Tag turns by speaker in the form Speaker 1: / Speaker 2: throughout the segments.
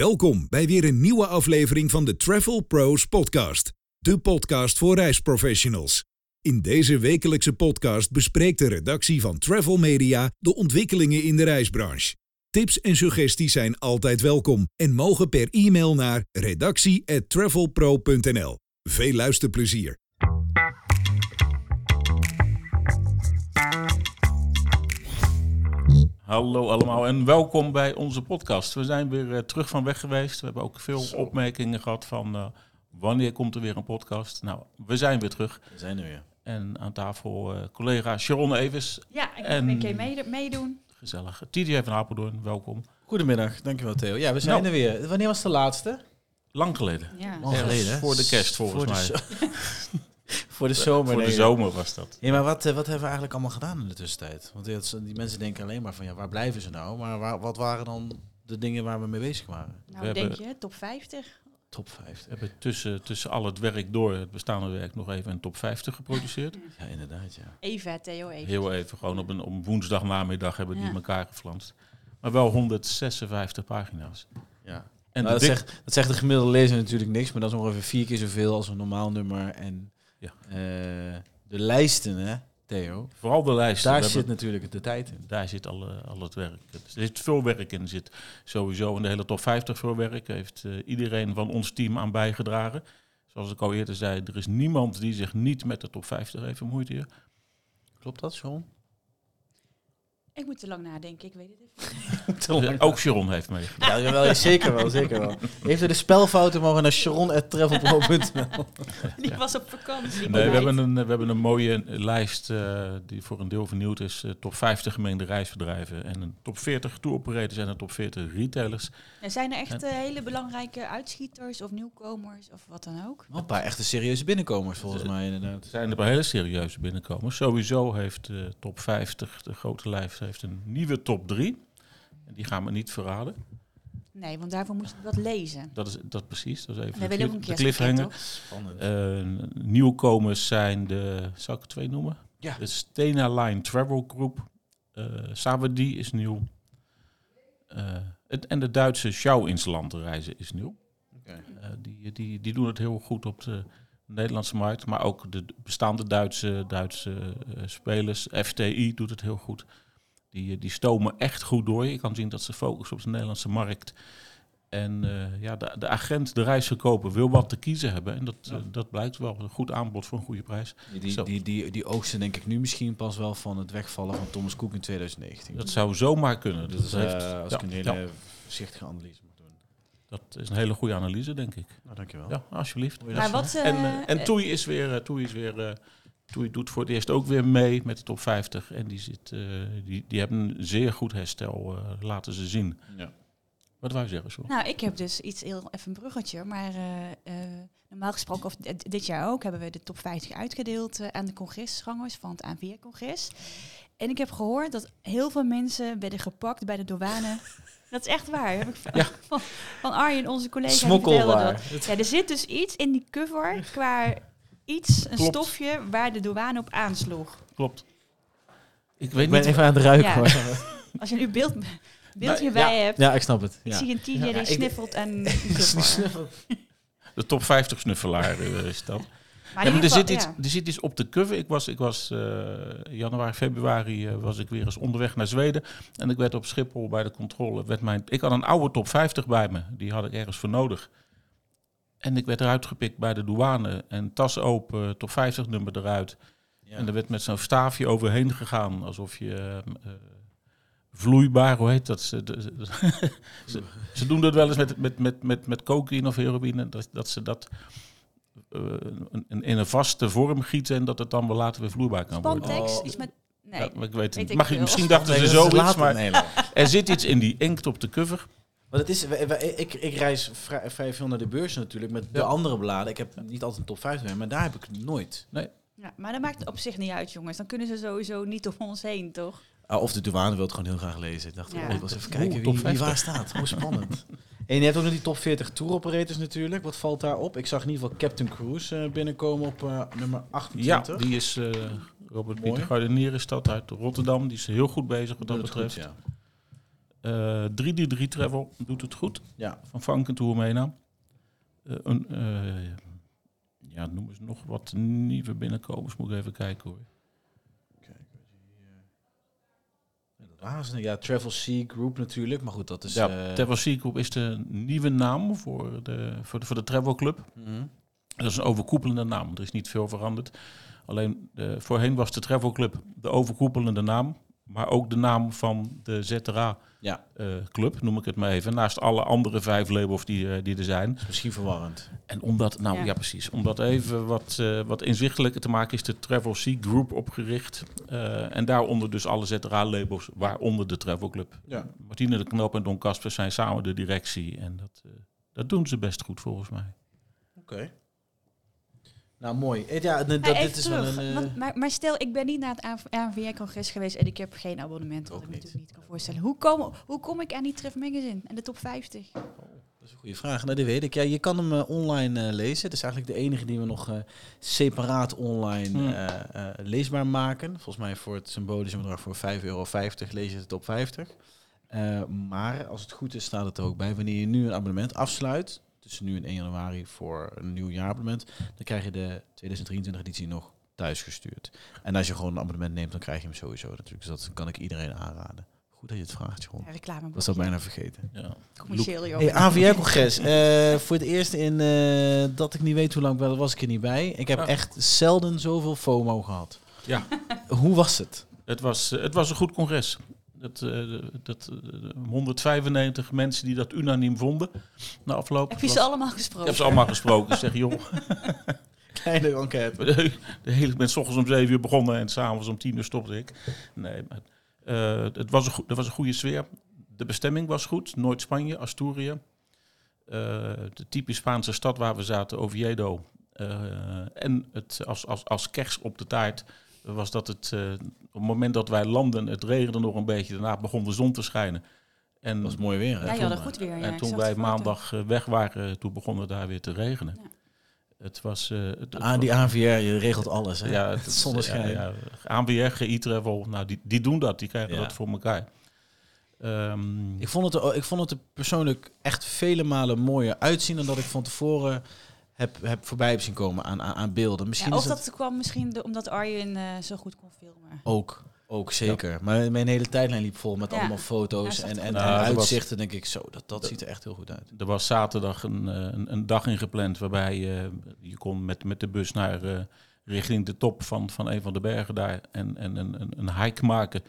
Speaker 1: Welkom bij weer een nieuwe aflevering van de Travel Pros Podcast, de podcast voor reisprofessionals. In deze wekelijkse podcast bespreekt de redactie van Travel Media de ontwikkelingen in de reisbranche. Tips en suggesties zijn altijd welkom en mogen per e-mail naar redactie@travelpro.nl. Veel luisterplezier.
Speaker 2: Hallo allemaal en welkom bij onze podcast. We zijn weer eh, terug van weg geweest. We hebben ook veel opmerkingen gehad van eh, wanneer komt er weer een podcast. Nou, we zijn weer terug.
Speaker 3: We zijn er weer.
Speaker 2: En aan tafel eh, collega Sharon Evers,
Speaker 4: Ja, ik
Speaker 2: En-
Speaker 4: en... een keer meede- meedoen.
Speaker 2: gezellig. TJ van Apeldoorn, welkom.
Speaker 3: Goedemiddag, dankjewel Theo. Ja, we zijn
Speaker 2: Nou.
Speaker 3: er weer. Wanneer was de laatste?
Speaker 2: Lang geleden.
Speaker 4: Ja.
Speaker 2: Ergens
Speaker 3: geleden, hè?
Speaker 2: voor de kerst volgens
Speaker 3: Voor de
Speaker 2: mij.
Speaker 3: zo- voor de zomer.
Speaker 2: voor de
Speaker 3: nee.
Speaker 2: zomer was dat.
Speaker 3: Ja, maar wat, eh, wat hebben we eigenlijk allemaal gedaan in de tussentijd? Want die, die mensen denken alleen maar van, ja, waar blijven ze nou? Maar waar, wat waren dan de dingen waar we mee bezig waren?
Speaker 2: we
Speaker 4: Nou,
Speaker 2: hebben-
Speaker 4: denk je, top 50.
Speaker 3: Top
Speaker 2: We
Speaker 3: 50.
Speaker 2: hebben tussen, tussen al het werk door, het bestaande werk, nog even een top 50 geproduceerd.
Speaker 3: Ja, inderdaad, ja.
Speaker 4: Eva, Theo, Eva.
Speaker 2: Heel even, gewoon op een op woensdag namiddag hebben die
Speaker 4: Ja.
Speaker 2: elkaar geflanst. Maar wel 156 pagina's.
Speaker 3: ja.
Speaker 2: En
Speaker 3: Nou,
Speaker 2: de
Speaker 3: dat,
Speaker 2: dik-
Speaker 3: zegt, dat zegt de gemiddelde lezer natuurlijk niks, maar dat is ongeveer vier keer zoveel als een normaal nummer. En
Speaker 2: Ja.
Speaker 3: eh, de lijsten, hè, Theo?
Speaker 2: vooral de lijst.
Speaker 3: Daar
Speaker 2: We
Speaker 3: zit
Speaker 2: hebben-
Speaker 3: natuurlijk de tijd in.
Speaker 2: Daar zit al, eh, al het werk. Er zit veel werk in. Er zit sowieso in de hele top 50 veel werk. Heeft eh, iedereen van ons team aan bijgedragen. Zoals ik al eerder zei, er is niemand die zich niet met de top 50 heeft bemoeid hier.
Speaker 3: Klopt dat, John?
Speaker 4: Ik moet te lang nadenken, ik weet het even.
Speaker 2: Dus ook Sharon heeft meegedaan.
Speaker 3: Ja, jawel, zeker wel, zeker wel. Heeft u de spelfouten mogen naar sharon.travelpro.nl?
Speaker 4: Die was op
Speaker 2: Nee,
Speaker 4: vakantie.
Speaker 2: we,
Speaker 4: maar-
Speaker 2: hebben een, we hebben een mooie lijst eh, die voor een deel vernieuwd is. Eh, top 50 gemengde reisbedrijven en een top 40 tour-operators en een top 40 retailers.
Speaker 4: Er zijn er echt eh, hele belangrijke uitschieters of nieuwkomers of wat dan ook?
Speaker 3: Wel Een paar echte serieuze binnenkomers volgens mij
Speaker 2: Er
Speaker 3: inderdaad.
Speaker 2: zijn er wel hele serieuze binnenkomers. Sowieso heeft de top 50, de grote lijst, heeft een nieuwe top 3. En die gaan we niet verraden.
Speaker 4: Nee, want daarvoor moesten we dat lezen.
Speaker 2: Dat is dat precies. Dat is even de,
Speaker 4: We willen ook
Speaker 2: cliff-
Speaker 4: een
Speaker 2: de
Speaker 4: keer
Speaker 2: cliffhanger.
Speaker 3: Spannend.
Speaker 2: Eh, nieuwkomers zijn de, zal ik er twee noemen?
Speaker 3: Ja.
Speaker 2: De Stena Line Travel Group. Eh Sabadie is nieuw. Eh, het, en de Duitse Schouw ins Land reizen is nieuw.
Speaker 3: Oké.
Speaker 2: Eh, die, die, die doen het heel goed op de Nederlandse markt. Maar ook de bestaande Duitse, Duitse eh, spelers. FTI doet het heel goed. Die, eh, die stomen echt goed door. Je kan zien dat ze focussen op de Nederlandse markt. En eh, ja, de, de agent, de reisverkoper, wil wat te kiezen hebben. En dat, eh, dat blijkt wel. Een goed aanbod voor een goede prijs. Zo.
Speaker 3: Die, die, die, die oogsten denk ik nu misschien pas wel van het wegvallen van Thomas Cook in 2019.
Speaker 2: Dat zou zomaar kunnen.
Speaker 3: Dus,
Speaker 2: Dat,
Speaker 3: eh,
Speaker 2: heeft,
Speaker 3: als
Speaker 2: ja,
Speaker 3: ik een hele voorzichtige analyse moet doen.
Speaker 2: dat is een hele goede analyse, denk ik.
Speaker 3: Nou, dankjewel.
Speaker 2: Ja, alsjeblieft.
Speaker 4: Maar wat... eh,
Speaker 2: En, eh, en
Speaker 4: eh,
Speaker 2: Toei is weer, eh, Toei is weer eh, Toei doet voor het eerst ook weer mee met de top 50. En die, zit, eh, die, die hebben een zeer goed herstel, eh, laten ze zien.
Speaker 3: Ja.
Speaker 2: Wat wou je zeggen, zo?
Speaker 4: Nou, ik heb dus iets heel even een bruggetje, maar eh, eh, normaal gesproken, of d- dit jaar ook, hebben we de top 50 uitgedeeld eh, aan de congresgangers van het ANVR-congres. En ik heb gehoord dat heel veel mensen werden gepakt bij de douane. Dat is echt waar. Heb ik van, van, van Arjen, onze collega, die vertelde dat.
Speaker 3: Smokkelwaar.
Speaker 4: Ja, er zit dus iets in die cover qua iets, een
Speaker 2: Klopt.
Speaker 4: stofje waar de douane op aansloeg.
Speaker 2: Klopt. Ik weet
Speaker 3: Ik ben
Speaker 2: niet.
Speaker 3: even aan het ruiken
Speaker 4: Ja.
Speaker 3: hoor.
Speaker 4: Als je nu beeld, beeldje
Speaker 2: ja.
Speaker 4: bij hebt,
Speaker 3: Ja, ik snap het.
Speaker 4: ik
Speaker 3: Ja.
Speaker 4: zie een TJ
Speaker 3: Ja,
Speaker 4: die
Speaker 3: ik-
Speaker 4: sniffelt en... cover.
Speaker 2: De top 50 snuffelaar eh, is dat.
Speaker 4: Maar
Speaker 2: Ja,
Speaker 4: in
Speaker 2: maar er,
Speaker 4: ieder
Speaker 2: zit
Speaker 4: geval,
Speaker 2: iets,
Speaker 4: ja.
Speaker 2: er zit iets op de cover. Ik was, ik was eh, januari, februari eh, was ik weer eens onderweg naar Zweden. En ik werd op Schiphol bij de controle. Werd mijn, ik had een oude top 50 bij me. Die had ik ergens voor nodig. En ik werd eruit gepikt bij de douane. En tas open, top 50 nummer eruit. En er werd met zo'n staafje overheen gegaan. Alsof je eh, eh, vloeibaar, hoe heet dat? Ze, de- ze- ze, ze doen dat wel eens met, met, met, met, met cocaïne of heroïne. Dat, dat ze dat eh, een- een- in een vaste vorm gieten. En dat het dan wel later weer vloeibaar kan worden.
Speaker 4: Spantex,
Speaker 3: Oh.
Speaker 4: iets met... Nee.
Speaker 2: Ja, maar ik weet het
Speaker 4: Weet
Speaker 2: niet.
Speaker 4: ik
Speaker 2: Mag je,
Speaker 4: veel.
Speaker 2: misschien
Speaker 3: Dus
Speaker 2: dachten ze zoiets, maar
Speaker 3: Nederland.
Speaker 2: er zit iets in die inkt op de cover.
Speaker 3: Maar het is, wij- wij- ik, ik reis vrij, vrij veel naar de beurs natuurlijk met de
Speaker 2: Ja.
Speaker 3: andere bladen. Ik heb niet altijd een top 5 mee, maar daar heb ik nooit.
Speaker 4: Ja, maar dat maakt op zich niet uit, jongens. Dan kunnen ze sowieso niet om ons heen, toch?
Speaker 3: Ah, of de douane wil het gewoon heel graag lezen. Ik dacht,
Speaker 4: Ja.
Speaker 3: oh, ik wil eens even
Speaker 2: Oeh,
Speaker 3: kijken
Speaker 2: top
Speaker 3: wie, wie
Speaker 2: 50.
Speaker 3: waar staat. Hoe spannend. en je hebt ook nog die top 40 tour operators natuurlijk. Wat valt daar op? Ik zag in ieder geval Captain Cruise eh, binnenkomen op eh, nummer
Speaker 2: Ja,
Speaker 3: 28.
Speaker 2: die is eh, Robert
Speaker 3: Mooi.
Speaker 2: Pieter Gardenier is dat uit Rotterdam. Die is heel goed bezig wat dat
Speaker 3: Doet het
Speaker 2: betreft.
Speaker 3: goed,
Speaker 2: eh
Speaker 3: ja.
Speaker 2: 3D3 Travel doet het goed.
Speaker 3: Ja.
Speaker 2: Van Franken Tour meenam. Eh, een, eh, ja, noem eens nog wat nieuwe binnenkomers. Moet ik even kijken hoor.
Speaker 3: Razende, Ja, Travel Sea Group natuurlijk, maar goed, dat is...
Speaker 2: ja,
Speaker 3: eh,
Speaker 2: Travel Sea Group is de nieuwe naam voor de, voor de, voor de Travel Club.
Speaker 3: mhm.
Speaker 2: Dat is een overkoepelende naam. Er is niet veel veranderd. Alleen eh, voorheen was de Travel Club de overkoepelende naam. Maar ook de naam van de ZRA
Speaker 3: Ja.
Speaker 2: eh, Club, noem ik het maar even. Naast alle andere vijf labels die, eh, die er zijn.
Speaker 3: is misschien verwarrend.
Speaker 2: En omdat, nou ja,
Speaker 4: Ja.
Speaker 2: precies, om dat even wat, eh, wat inzichtelijker te maken, is de Travel Sea Group opgericht. Eh, en daaronder dus alle ZRA-labels, waaronder de Travel Club.
Speaker 3: Ja.
Speaker 2: Martine de Knoop en Don Kasper zijn samen de directie. En dat, eh, dat doen ze best goed volgens mij.
Speaker 3: Oké. Nou, mooi. Eh, Ja, d- d-
Speaker 4: Maar
Speaker 3: dit
Speaker 4: even
Speaker 3: is
Speaker 4: terug,
Speaker 3: wel een... eh,
Speaker 4: want- maar, maar stel, ik ben niet naar het ANVR-congres geweest en ik heb geen abonnement, wat
Speaker 3: Ook
Speaker 4: ik
Speaker 3: niet.
Speaker 4: me natuurlijk niet kan voorstellen. Hoe kom, hoe kom ik aan die Tref Magazine en de top 50?
Speaker 3: Dat is een goede vraag. Nou, die weet ik. Ja, je kan hem eh, online eh, lezen. Het is eigenlijk de enige die we nog eh, separaat online
Speaker 2: Hmm.
Speaker 3: eh, eh, leesbaar maken. Volgens mij voor het symbolische bedrag voor 5,50 euro lees je het op 50. Eh, maar als het goed is, staat het er ook bij. Wanneer je nu een abonnement afsluit, tussen nu en 1 januari voor een nieuw jaarabonnement, dan krijg je de 2023 editie nog thuisgestuurd. En als je gewoon een abonnement neemt, dan krijg je hem sowieso natuurlijk. Dus dat kan ik iedereen aanraden. Goed dat je het vraagt, Jeroen.
Speaker 4: Ja, reclame.
Speaker 3: Dat zou ik bijna vergeten.
Speaker 2: Ja.
Speaker 4: Commercieel, joh.
Speaker 3: Hey, AVR-congres. Eh, voor het eerst in eh, dat ik niet weet hoe lang ik wel was ik er niet bij. Ik heb
Speaker 2: Ah.
Speaker 3: echt zelden zoveel FOMO gehad.
Speaker 2: Ja.
Speaker 3: Hoe was het?
Speaker 2: Het, was, eh, het was een goed congres. Dat, eh, dat, eh, 195 mensen die dat unaniem vonden na afloop.
Speaker 4: Heb je
Speaker 2: Het
Speaker 4: ze
Speaker 2: was-
Speaker 4: allemaal
Speaker 2: Ik
Speaker 4: gesproken?
Speaker 2: heb ze allemaal gesproken. Ik zeg, joh,
Speaker 3: Kleine enquête.
Speaker 2: De hele, ik ben 's ochtends om zeven uur begonnen en s'avonds om tien uur stopte ik. Nee, maar, eh, het was een goe- er was een goede sfeer. De bestemming was goed. Noord-Spanje, Asturië. Eh, de typisch Spaanse stad waar we zaten, Oviedo. Eh, en het, als, als, als kers op de taart was dat het... eh, op het moment dat wij landden, het regende nog een beetje. Daarna begon de zon te schijnen. En,
Speaker 3: Dat was mooi weer. Hè?
Speaker 4: Ja, je had het goed weer. Ja,
Speaker 2: en
Speaker 4: ik
Speaker 2: toen
Speaker 4: zag
Speaker 2: wij
Speaker 4: de foto.
Speaker 2: maandag eh, weg waren, toen begon het daar weer te regenen.
Speaker 4: Ja.
Speaker 2: Het was... eh, het-
Speaker 3: Ah, die AVR, je regelt alles. Hè?
Speaker 2: ja, het
Speaker 3: het zonneschijn.
Speaker 2: Ja, ja. ANWR, GI-travel, nou, die, die doen dat. Die krijgen
Speaker 3: Ja.
Speaker 2: dat voor elkaar. Ehm,
Speaker 3: Ik, vond het, er- ik vond het er persoonlijk echt vele malen mooier uitzien dan dat ik van tevoren heb, heb voorbij heb zien komen aan, aan, aan beelden. Misschien
Speaker 4: Ja, of
Speaker 3: is dat,
Speaker 4: dat kwam misschien de- omdat Arjen eh, zo goed kon filmen.
Speaker 3: ook. Ook zeker. Maar mijn hele tijdlijn liep vol met
Speaker 4: Ja.
Speaker 3: allemaal foto's
Speaker 4: Ja,
Speaker 3: en, en,
Speaker 2: Nou,
Speaker 3: en
Speaker 2: dat was-
Speaker 3: uitzichten. denk ik, zo, dat, dat ziet er echt heel goed uit.
Speaker 2: er was zaterdag een, eh, een, een dag ingepland waarbij eh, je kon met, met de bus naar eh, richting de top van, van een van de bergen daar en, en een, een, een hike maken.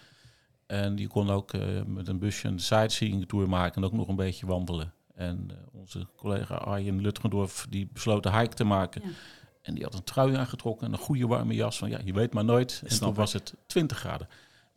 Speaker 2: En je kon ook eh, met een busje een sightseeing tour maken en ook nog een beetje wandelen. En eh, onze collega Arjen Lutgendorf die besloot de hike te maken.
Speaker 4: Ja.
Speaker 2: En die had een trui aangetrokken en een goede warme jas. Van ja, je weet maar nooit. En
Speaker 3: Snap
Speaker 2: toen
Speaker 3: ik.
Speaker 2: was het 20 graden.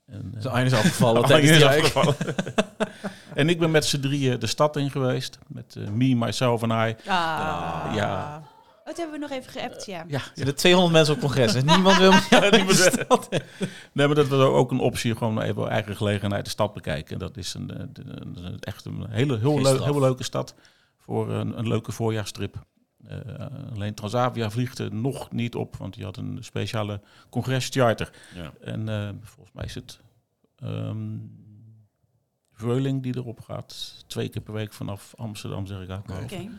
Speaker 2: En, eh,
Speaker 3: Zijn eind is afgevallen
Speaker 2: Oh,
Speaker 3: tijdens
Speaker 2: je
Speaker 3: die
Speaker 2: is
Speaker 3: hike.
Speaker 2: afgevallen. en ik ben met z'n drieën de stad in geweest. Met eh, me, myself en I.
Speaker 4: Ah.
Speaker 2: ja.
Speaker 4: Dat hebben we nog even geappt, ja.
Speaker 2: Ja,
Speaker 3: Er zitten 200 mensen op congres en niemand wil met jou
Speaker 2: Niemand wil.
Speaker 3: besteld hebben.
Speaker 2: Nee, maar dat was ook een optie. Gewoon even eigen gelegenheid de stad bekijken. En dat is een, eh, een- een- echt een hele, heel,
Speaker 3: Geen
Speaker 2: leu-
Speaker 3: straf.
Speaker 2: heel leuke stad. Voor een, een leuke voorjaarstrip. Eh, alleen Transavia vliegt er nog niet op. Want die had een speciale congrescharter.
Speaker 3: Ja.
Speaker 2: En eh, volgens mij is het ehm Vreuling die erop gaat. Twee keer per week vanaf Amsterdam, zeg ik uit. mijn
Speaker 3: Oké.
Speaker 2: hoofd.
Speaker 4: Oké.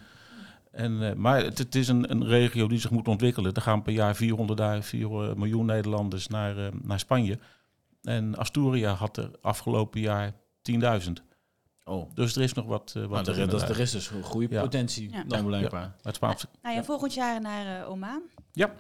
Speaker 2: En, eh, maar het, het is een, een regio die zich moet ontwikkelen. Er gaan per jaar 400, daar- 400 miljoen Nederlanders naar, eh, naar Spanje. En Asturia had er afgelopen jaar 10.000.
Speaker 3: Oh,
Speaker 2: Dus er is nog wat, eh, wat
Speaker 3: maar
Speaker 2: te
Speaker 3: er, dat,
Speaker 2: winnen
Speaker 3: er is dus een goede
Speaker 2: Ja.
Speaker 3: potentie
Speaker 4: Ja.
Speaker 3: dan blijkbaar.
Speaker 2: daar. Het Spaanse.
Speaker 4: Nou ja, volgend jaar naar eh, Oman.
Speaker 3: Ja.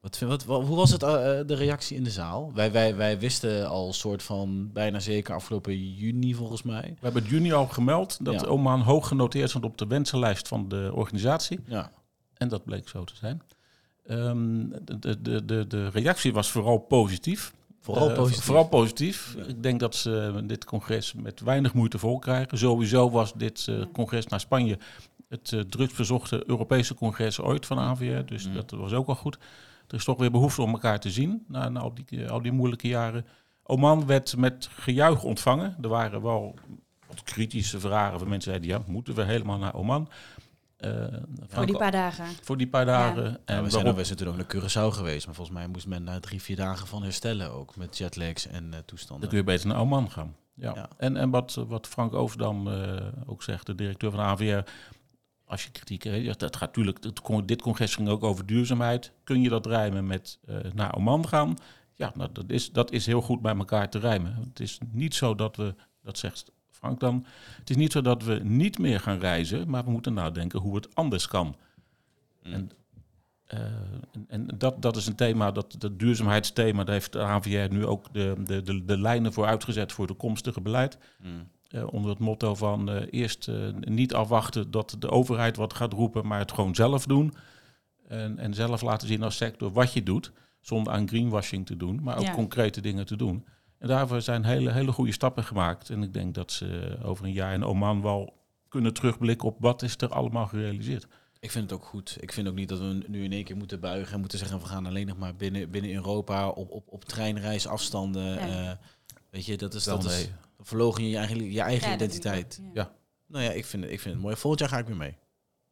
Speaker 3: Wat, vind- wat, wat- hoe was het, eh, eh, de reactie in de zaal? Wij, wij, wij wisten al soort van bijna zeker afgelopen juni volgens mij.
Speaker 2: We hebben het juni al gemeld dat
Speaker 3: Ja.
Speaker 2: Oman hoog genoteerd stond op de wensenlijst van de organisatie.
Speaker 3: Ja.
Speaker 2: En dat bleek zo te zijn. Ehm, de- de, de, de, de reactie was vooral positief.
Speaker 3: Vooral
Speaker 2: Eh,
Speaker 3: positief.
Speaker 2: Vooral positief.
Speaker 3: Ja.
Speaker 2: Ik denk dat ze eh, dit congres met weinig moeite vol krijgen. Sowieso was dit eh, congres naar Spanje het eh, drukst bezochte Europese congres ooit van AVR. Dus
Speaker 3: Mm.
Speaker 2: dat was ook wel goed. Er is toch weer behoefte om elkaar te zien na, na al, die, eh, al die moeilijke jaren. Oman werd met gejuich ontvangen. Er waren wel wat kritische vragen van mensen die zeiden, ja, moeten we helemaal naar Oman? Eh,
Speaker 4: Voor die
Speaker 2: Franco-
Speaker 4: paar dagen.
Speaker 2: voor die paar dagen.
Speaker 3: Ja,
Speaker 2: En
Speaker 3: we, zijn,
Speaker 2: waarop-
Speaker 3: ook- we zijn toen ook naar Curaçao geweest, maar volgens mij moest men daar drie, vier dagen van herstellen ook. Met jetlags en eh,
Speaker 2: dan
Speaker 3: toestanden.
Speaker 2: kun je beter naar Oman gaan. Ja.
Speaker 3: Ja.
Speaker 2: En, en wat, wat Frank Overdam eh, ook zegt, de directeur van de AVR. Als je kritiek hebt, ja, dat gaat natuurlijk. dat con- dit congres ging ook over duurzaamheid. Kun je dat rijmen met eh, naar Oman gaan? Ja, nou, dat, is, dat is heel goed bij elkaar te rijmen. Het is niet zo dat we, dat zegt Frank dan, het is niet zo dat we niet meer gaan reizen, maar we moeten nadenken hoe het anders kan. En, eh, en, en dat, dat is een thema, dat, dat duurzaamheidsthema, daar heeft de AVR nu ook de, de, de, de lijnen voor uitgezet voor toekomstige beleid.
Speaker 3: Hmm.
Speaker 2: Eh, onder het motto van eh, eerst eh, niet afwachten dat de overheid wat gaat roepen, maar het gewoon zelf doen. En, en zelf laten zien als sector wat je doet, zonder aan greenwashing te doen, maar ook
Speaker 4: Ja.
Speaker 2: concrete dingen te doen. En daarvoor zijn hele, hele goede stappen gemaakt. En ik denk dat ze eh, over een jaar in Oman wel kunnen terugblikken op wat is er allemaal gerealiseerd.
Speaker 3: Ik vind het ook goed. Ik vind ook niet dat we nu in één keer moeten buigen en moeten zeggen we gaan alleen nog maar binnen, binnen Europa op, op, op treinreisafstanden. eh,
Speaker 4: Ja.
Speaker 3: weet je, dat is,
Speaker 2: Wel
Speaker 3: dat is
Speaker 2: nee.
Speaker 3: dan verlogen je je eigen, je eigen
Speaker 4: Ja, dat
Speaker 3: identiteit.
Speaker 4: is ook,
Speaker 2: Ja.
Speaker 4: ja.
Speaker 3: Nou ja, ik vind, het- ik vind het mooi. Volgend jaar ga ik weer mee.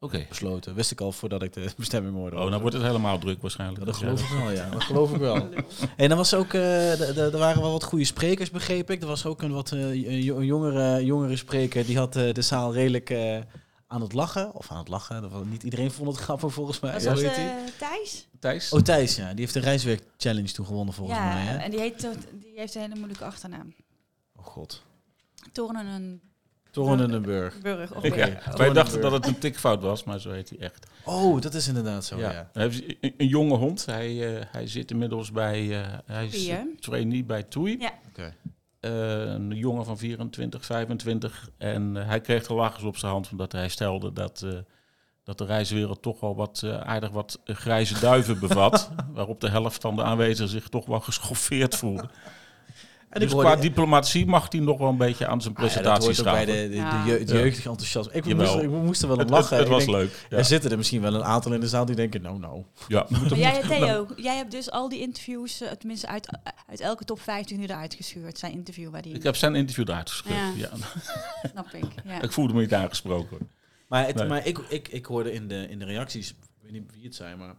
Speaker 2: Oké.
Speaker 3: Besloten. Wist ik al voordat ik de bestemming hoorde.
Speaker 2: Oh, dan wordt het helemaal druk waarschijnlijk.
Speaker 3: Ja, dat
Speaker 2: Dus ja,
Speaker 3: geloof ik wel, ja. Dat geloof ik wel. En dan was ook, eh, d- d- er waren wel wat goede sprekers, begreep ik. Er was ook een wat eh, jo- jongere, jongere spreker, die had eh, de zaal redelijk eh, aan het lachen. Of aan het lachen, dat was, niet iedereen vond het grappig volgens mij.
Speaker 4: Was
Speaker 3: Hoe
Speaker 4: dat
Speaker 3: heet die?
Speaker 4: eh, Thijs?
Speaker 2: Thijs?
Speaker 3: Oh, Thijs, ja. Die heeft de reiswerk challenge toen gewonnen volgens
Speaker 4: ja,
Speaker 3: mij, hè?
Speaker 4: en die, heet, dat- die heeft een hele moeilijke achternaam.
Speaker 3: Oh god.
Speaker 4: Torenenburg.
Speaker 3: Torenenburg.
Speaker 4: Of
Speaker 2: Ik- ja. Wij dachten dat het een tikfout was, maar zo heet hij echt.
Speaker 3: Oh, dat is inderdaad zo, ja.
Speaker 2: ja. Hij heeft een, een jonge hond. Hij, eh, hij zit inmiddels bij... eh, hij is
Speaker 4: Toei, hè?
Speaker 2: trainee bij Toei.
Speaker 4: Ja.
Speaker 3: Oké.
Speaker 2: Eh, een jongen van 24, 25. En eh, hij kreeg de lachers op zijn hand omdat hij stelde dat... eh, dat de reiswereld toch wel wat eh, aardig wat grijze duiven bevat. waarop de helft van de aanwezigen zich toch wel geschoffeerd voelde.
Speaker 3: En
Speaker 2: dus qua diplomatie mag hij nog wel een beetje aan zijn
Speaker 3: Ah, ja, dat
Speaker 2: presentatie
Speaker 3: hoort ook bij
Speaker 2: schaven.
Speaker 3: de, de,
Speaker 4: Ja.
Speaker 3: de, jeugd- de
Speaker 2: Ja.
Speaker 3: jeugdige enthousiasme. Ik moest,
Speaker 2: Jawel.
Speaker 3: ik moest er wel om
Speaker 2: Het,
Speaker 3: lachen.
Speaker 2: het, het
Speaker 3: Ik
Speaker 2: was
Speaker 3: denk,
Speaker 2: leuk. Ja.
Speaker 3: Er zitten er misschien wel een aantal in de zaal die denken, nou nou.
Speaker 2: Ja.
Speaker 4: Maar jij, Theo, jij hebt dus al die interviews, eh, tenminste uit, uit elke top 15 nu eruit geschuurd. Zijn interview waar die...
Speaker 2: Ik heb zijn interview eruit geschreven.
Speaker 4: Ja.
Speaker 2: Ja.
Speaker 4: Snap ik, ja.
Speaker 2: Ik voelde me niet aangesproken.
Speaker 3: Maar, het,
Speaker 2: Nee.
Speaker 3: maar ik, ik, ik hoorde in de, in de reacties, ik weet niet wie het zijn, maar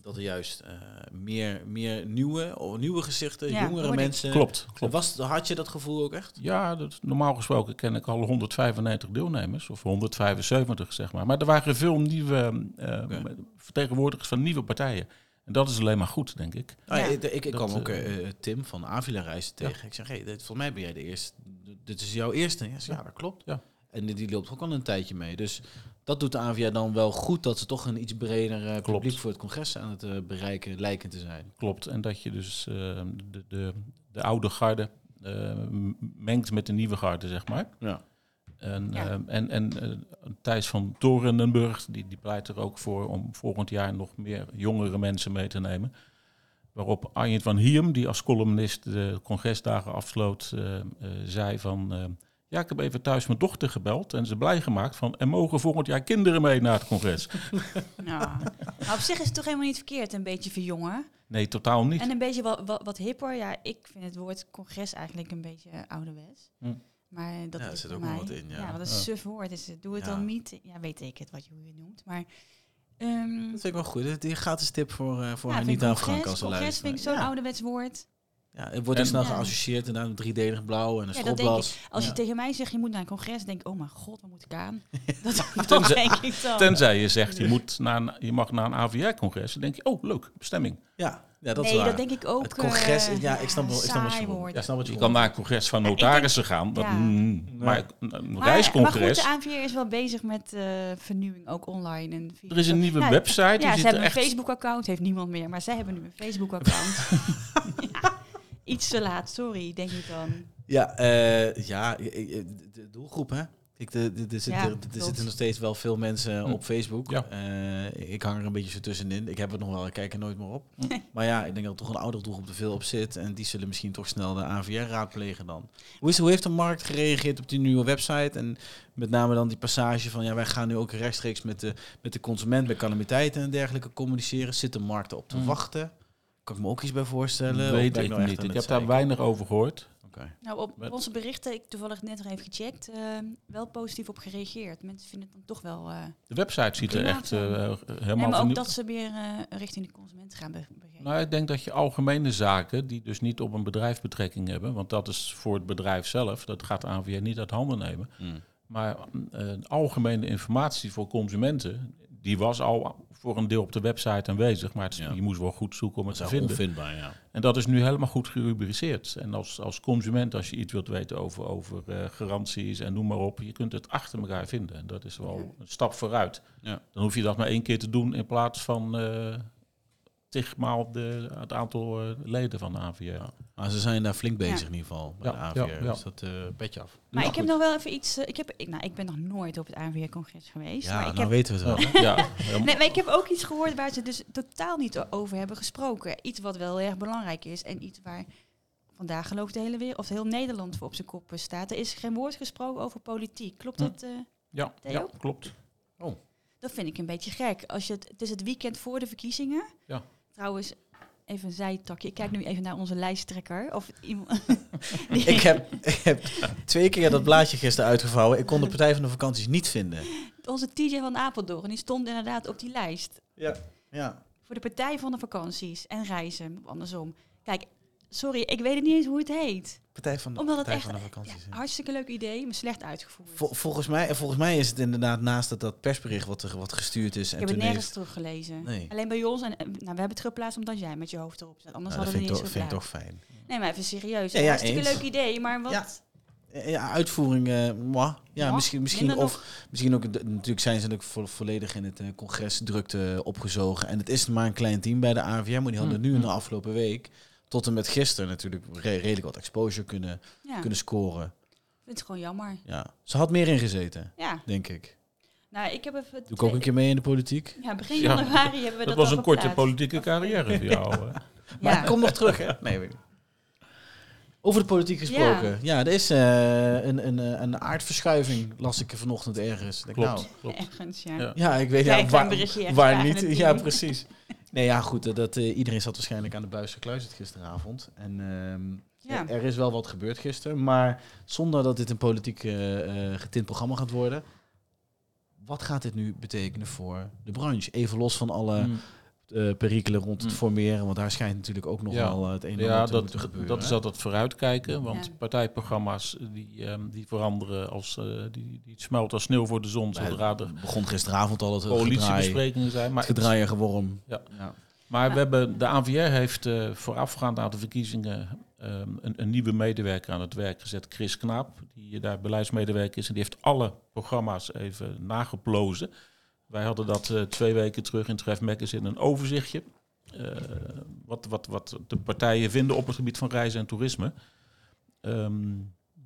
Speaker 3: dat er juist eh, meer, meer nieuwe, of nieuwe gezichten,
Speaker 4: Ja,
Speaker 3: jongere
Speaker 4: hoorde ik.
Speaker 3: mensen.
Speaker 2: Klopt, klopt.
Speaker 3: Was, had je dat gevoel ook echt?
Speaker 2: Ja, dat, normaal gesproken ken ik al 195 deelnemers, of 175 zeg maar. Maar er waren veel nieuwe eh,
Speaker 3: Oké.
Speaker 2: vertegenwoordigers van nieuwe partijen. En dat is alleen maar goed, denk ik.
Speaker 3: Nou ja,
Speaker 4: Ja.
Speaker 3: ik, ik, ik
Speaker 2: Dat,
Speaker 3: kwam ook
Speaker 2: eh,
Speaker 3: eh, Tim van Avila Reizen tegen. Ik zeg, hey, dit, volgens mij ben jij de eerste. Dit is jouw eerste. Hij zei, ja, dat klopt.
Speaker 2: Ja.
Speaker 3: En die, die loopt ook al een tijdje mee. Dus dat doet de AVA dan wel goed dat ze toch een iets breder eh,
Speaker 2: Klopt.
Speaker 3: publiek voor het congres aan het eh, bereiken lijken te zijn.
Speaker 2: Klopt. En dat je dus eh, de, de, de oude garde eh, m- mengt met de nieuwe garde, zeg maar.
Speaker 3: Ja.
Speaker 2: En,
Speaker 4: Ja.
Speaker 2: ehm, en, en eh, Thijs van Torenenburg, die, die pleit er ook voor om volgend jaar nog meer jongere mensen mee te nemen. Waarop Arjen van Hiem, die als columnist de congresdagen afsloot, eh, eh, zei van... ehm, ja, ik heb even thuis mijn dochter gebeld en ze blij gemaakt van... en mogen volgend jaar kinderen mee naar het congres?
Speaker 4: Nou, maar op zich is het toch helemaal niet verkeerd, een beetje verjongen.
Speaker 2: Nee, totaal niet.
Speaker 4: En een beetje wat, wat, wat hipper. Ja, ik vind het woord congres eigenlijk een beetje eh, ouderwets.
Speaker 2: Hm.
Speaker 4: Maar dat
Speaker 3: Ja,
Speaker 4: is
Speaker 3: er zit
Speaker 4: voor
Speaker 3: ook wel
Speaker 4: mij,
Speaker 3: wat in, ja.
Speaker 4: want dat is
Speaker 2: Ja.
Speaker 4: een suf woord. Dus eh, doe het
Speaker 3: Ja.
Speaker 4: dan niet. Ja, weet ik het, wat je, hoe je het noemt. Maar ehm
Speaker 3: Dat vind ik wel goed. Dit is een gratis tip voor, eh voor
Speaker 4: ja, vind ik
Speaker 3: Anita en
Speaker 4: congres-
Speaker 3: Frank als ze
Speaker 4: Congres
Speaker 3: luisteren.
Speaker 4: vind ik nou- zo'n
Speaker 3: ja.
Speaker 4: ouderwets woord.
Speaker 3: Ja, het wordt ook
Speaker 2: En-
Speaker 3: snel
Speaker 4: Ja.
Speaker 3: geassocieerd inderdaad met driedelig blauw en een
Speaker 4: eh, Ja, dat denk ik.
Speaker 3: stropdas.
Speaker 4: Als
Speaker 3: Ja.
Speaker 4: je tegen mij zegt, je moet naar een congres, denk ik, oh mijn god, wat moet ik aan? Dat, dat
Speaker 2: Tenzij-
Speaker 4: denk ik dan.
Speaker 2: Tenzij je zegt, je, moet naar een- je mag naar een AVR-congres. Dan denk je, oh, leuk, bestemming.
Speaker 3: Ja, ja, dat
Speaker 4: nee,
Speaker 3: is waar.
Speaker 4: dat denk ik ook.
Speaker 3: het congres, is-
Speaker 4: eh,
Speaker 3: ja, ik snap wel, ik snap wat je
Speaker 4: saai
Speaker 3: bedoelt.
Speaker 4: woord.
Speaker 3: Ik snap wat
Speaker 2: je
Speaker 3: je
Speaker 2: kan
Speaker 3: bedoelt.
Speaker 2: naar een congres van
Speaker 4: Ja, ik
Speaker 2: notarissen gaan. Dat,
Speaker 4: ja.
Speaker 2: mm, Maar een- een reiscongres...
Speaker 4: Maar goed, de ANVR is wel bezig met eh, vernieuwing, ook online. En Nou, via-
Speaker 2: Er is een nieuwe
Speaker 4: Ja,
Speaker 2: website. die
Speaker 4: Ja,
Speaker 2: zit
Speaker 4: ze
Speaker 2: er
Speaker 4: hebben
Speaker 2: echt...
Speaker 4: een Facebook-account, heeft niemand meer. Maar zij hebben nu een Facebook-account. ja, iets te laat, sorry, denk ik dan.
Speaker 3: Ja, eh, ja, eh, eh, de doelgroep hè. Ik, de, de, er zitten-
Speaker 4: Ja,
Speaker 3: er
Speaker 4: klopt.
Speaker 3: zitten nog steeds wel veel mensen
Speaker 2: Hm.
Speaker 3: op Facebook.
Speaker 2: Ja.
Speaker 3: Eh, ik hang er een beetje zo tussenin. Ik heb het nog wel, ik kijk er nooit meer op. Maar ja, ik denk dat er toch een oudere doelgroep er veel op zit. En die zullen misschien toch snel de AVR raadplegen dan. Hoe, is, hoe heeft de markt gereageerd op die nieuwe website? En met name dan die passage van ja, wij gaan nu ook rechtstreeks met de, met de consument bij calamiteiten en dergelijke communiceren. Zit de markt erop te
Speaker 4: Hm.
Speaker 2: Hmm.
Speaker 3: wachten? Kan ik me ook iets bij voorstellen? Of
Speaker 2: Weet
Speaker 3: ben
Speaker 2: ik
Speaker 3: nou echt
Speaker 2: niet.
Speaker 3: aan
Speaker 2: Ik
Speaker 3: het
Speaker 2: heb daar
Speaker 3: zeiken?
Speaker 2: weinig over gehoord.
Speaker 3: Oké.
Speaker 4: Nou, op
Speaker 2: Met-
Speaker 4: onze berichten, ik toevallig net nog even gecheckt, eh, wel positief op gereageerd. Mensen vinden het dan toch wel... eh,
Speaker 2: De website ziet er
Speaker 4: Prima,
Speaker 2: echt
Speaker 4: ja.
Speaker 2: eh, helemaal
Speaker 4: en maar ook
Speaker 2: vernieuwd-
Speaker 4: dat ze weer eh, richting de consument gaan, be- begreep geven?
Speaker 2: Nou, ik denk dat je algemene zaken, die dus niet op een bedrijf betrekking hebben, want dat is voor het bedrijf zelf, dat gaat ANVR niet uit handen nemen.
Speaker 3: Hmm.
Speaker 2: Maar eh, algemene informatie voor consumenten, die was al voor een deel op de website aanwezig, maar het is-
Speaker 3: Ja.
Speaker 2: je moest wel goed zoeken om het
Speaker 3: Dat is
Speaker 2: te
Speaker 3: wel
Speaker 2: vinden.
Speaker 3: onvindbaar, ja.
Speaker 2: En dat is nu helemaal goed gerubriceerd. En als, als consument, als je iets wilt weten over, over eh, garanties en noem maar op, je kunt het achter elkaar vinden. En dat is wel een stap vooruit.
Speaker 3: Ja.
Speaker 2: Dan hoef je dat maar één keer te doen in plaats van eh tigmaal de, het aantal eh, leden van de AVR.
Speaker 3: Maar ze zijn daar flink bezig
Speaker 4: Ja.
Speaker 3: in ieder geval, bij
Speaker 2: Ja,
Speaker 3: de AVR.
Speaker 2: ja, ja.
Speaker 3: Dus dat eh petje af.
Speaker 4: Maar
Speaker 2: Ja,
Speaker 4: ik heb
Speaker 2: nou goed.
Speaker 4: nog wel even iets. eh, ik, heb, ik, nou, ik ben nog nooit op het ANWR-congres geweest.
Speaker 3: Ja,
Speaker 4: maar ik
Speaker 3: nou
Speaker 4: heb, Oh.
Speaker 3: weten we het wel.
Speaker 2: Ja, ja, helemaal-
Speaker 4: nee, maar ik heb ook iets gehoord waar ze dus totaal niet o- over hebben gesproken. Iets wat wel erg belangrijk is en iets waar vandaag geloof ik de hele wereld, of heel Nederland voor op zijn kop eh, staat. Er is geen woord gesproken over politiek. Klopt
Speaker 2: Hm.
Speaker 4: dat? eh?
Speaker 2: ja,
Speaker 4: Theo?
Speaker 2: ja, klopt.
Speaker 4: Dat vind ik een beetje gek. Als je het, het is het weekend voor de verkiezingen.
Speaker 2: Ja.
Speaker 4: Trouwens, even een zijtakje. Ik kijk nu even naar onze lijsttrekker. Of iemand. die-
Speaker 3: Ik heb, ik heb twee keer dat blaadje gisteren uitgevouwen. Ik kon de Partij van de Vakanties niet vinden.
Speaker 4: Onze TJ van Apeldoorn, die stond inderdaad op die lijst.
Speaker 3: Ja. ja.
Speaker 4: Voor de Partij van de Vakanties en Reizen, of andersom. Kijk, sorry, ik weet het niet eens hoe het heet.
Speaker 3: Partij van de,
Speaker 4: Omdat het
Speaker 3: Partij van
Speaker 4: echt-
Speaker 3: de Vakanties. ja.
Speaker 4: Hartstikke leuk idee, maar slecht uitgevoerd.
Speaker 3: Vol- volgens, mij, volgens mij is het inderdaad naast dat, dat persbericht wat, er, wat gestuurd is.
Speaker 4: ik
Speaker 3: en
Speaker 4: heb het
Speaker 3: toen
Speaker 4: nergens
Speaker 3: heeft,
Speaker 4: teruggelezen.
Speaker 3: Nee.
Speaker 4: Alleen bij ons. En, eh, nou, we hebben het geplaatst omdat jij met je hoofd erop zat. Anders
Speaker 3: Nou, dat
Speaker 4: hadden
Speaker 3: vind ik
Speaker 4: we
Speaker 3: toch,
Speaker 4: niet zo
Speaker 3: vind ik
Speaker 4: gedaan.
Speaker 3: toch fijn.
Speaker 4: Nee, maar even serieus.
Speaker 3: Ja, ja,
Speaker 4: Hartstikke
Speaker 3: eens.
Speaker 4: leuk idee, maar wat...
Speaker 3: Ja. Eh, Ja, uitvoering, eh moi. Ja,
Speaker 4: Moi,
Speaker 3: misschien, misschien,
Speaker 4: minder
Speaker 3: of, misschien ook, de- natuurlijk zijn ze natuurlijk vo- volledig in het eh, congres drukte opgezogen. En het is maar een klein team bij de AVM, maar die hadden
Speaker 2: Mm,
Speaker 3: nu in de
Speaker 2: mm.
Speaker 3: afgelopen week tot en met gisteren natuurlijk re- redelijk wat exposure kunnen,
Speaker 4: Ja, ik
Speaker 3: kunnen scoren.
Speaker 4: vind het gewoon jammer.
Speaker 3: Ja. Ze had meer ingezeten,
Speaker 4: Ja,
Speaker 3: denk ik.
Speaker 4: nou, ik heb even...
Speaker 3: Doe ik ook een keer mee in de politiek?
Speaker 4: Ja, begin
Speaker 2: Ja.
Speaker 4: januari hebben we dat
Speaker 2: Dat was
Speaker 4: al
Speaker 2: een korte
Speaker 4: geplaatst.
Speaker 2: politieke carrière voor jou. hè.
Speaker 3: Maar
Speaker 4: Ja.
Speaker 3: ik kom nog terug, hè? Nee, weet ik niet. Over de politiek gesproken. Ja, er is eh, een, een, eh, een aardverschuiving, las ik er vanochtend ergens. Ik Denk,
Speaker 2: Klopt,
Speaker 3: nou,
Speaker 2: klopt.
Speaker 4: Ergens, ja.
Speaker 2: Ja.
Speaker 3: ja, ik weet
Speaker 4: Jij
Speaker 3: ja,
Speaker 4: kan een
Speaker 3: waar,
Speaker 4: berichtje echt
Speaker 3: waar
Speaker 4: vragen aan het
Speaker 3: niet. Ja,
Speaker 4: team.
Speaker 3: precies. Nee, ja, goed. eh, Dat, eh, iedereen zat waarschijnlijk aan de buis gekluisterd gisteravond. En ehm,
Speaker 4: Ja.
Speaker 3: er, er is wel wat gebeurd gisteren. Maar zonder dat dit een politiek eh, eh, getint programma gaat worden. Wat gaat dit nu betekenen voor de branche? Even los van alle
Speaker 2: Mm.
Speaker 3: eh, perikelen rond het
Speaker 2: Mm.
Speaker 3: formeren. Want daar schijnt natuurlijk ook nog
Speaker 2: Ja.
Speaker 3: wel eh, het een en
Speaker 2: Ja,
Speaker 3: ander te
Speaker 2: dat,
Speaker 3: moeten gebeuren.
Speaker 2: dat is altijd vooruitkijken. Want
Speaker 4: Ja.
Speaker 2: partijprogramma's eh, die, ehm, die veranderen als eh, die, die smelten als sneeuw voor de zon
Speaker 3: Bij-
Speaker 2: zodra er
Speaker 3: begon gisteravond al het gedraai,
Speaker 2: coalitiebesprekingen zijn.
Speaker 3: het
Speaker 2: Maar,
Speaker 3: gedraaien geworm.
Speaker 2: Ja.
Speaker 3: Ja.
Speaker 2: maar we hebben, de ANVR heeft eh, voorafgaand aan de verkiezingen ehm, een, een nieuwe medewerker aan het werk gezet, Chris Knaap, die eh, daar beleidsmedewerker is en die heeft alle programma's even nageplozen. Wij hadden dat eh, twee weken terug in Tref Magazine, een overzichtje. eh, wat, wat, wat de partijen vinden op het gebied van reizen en toerisme. Ehm,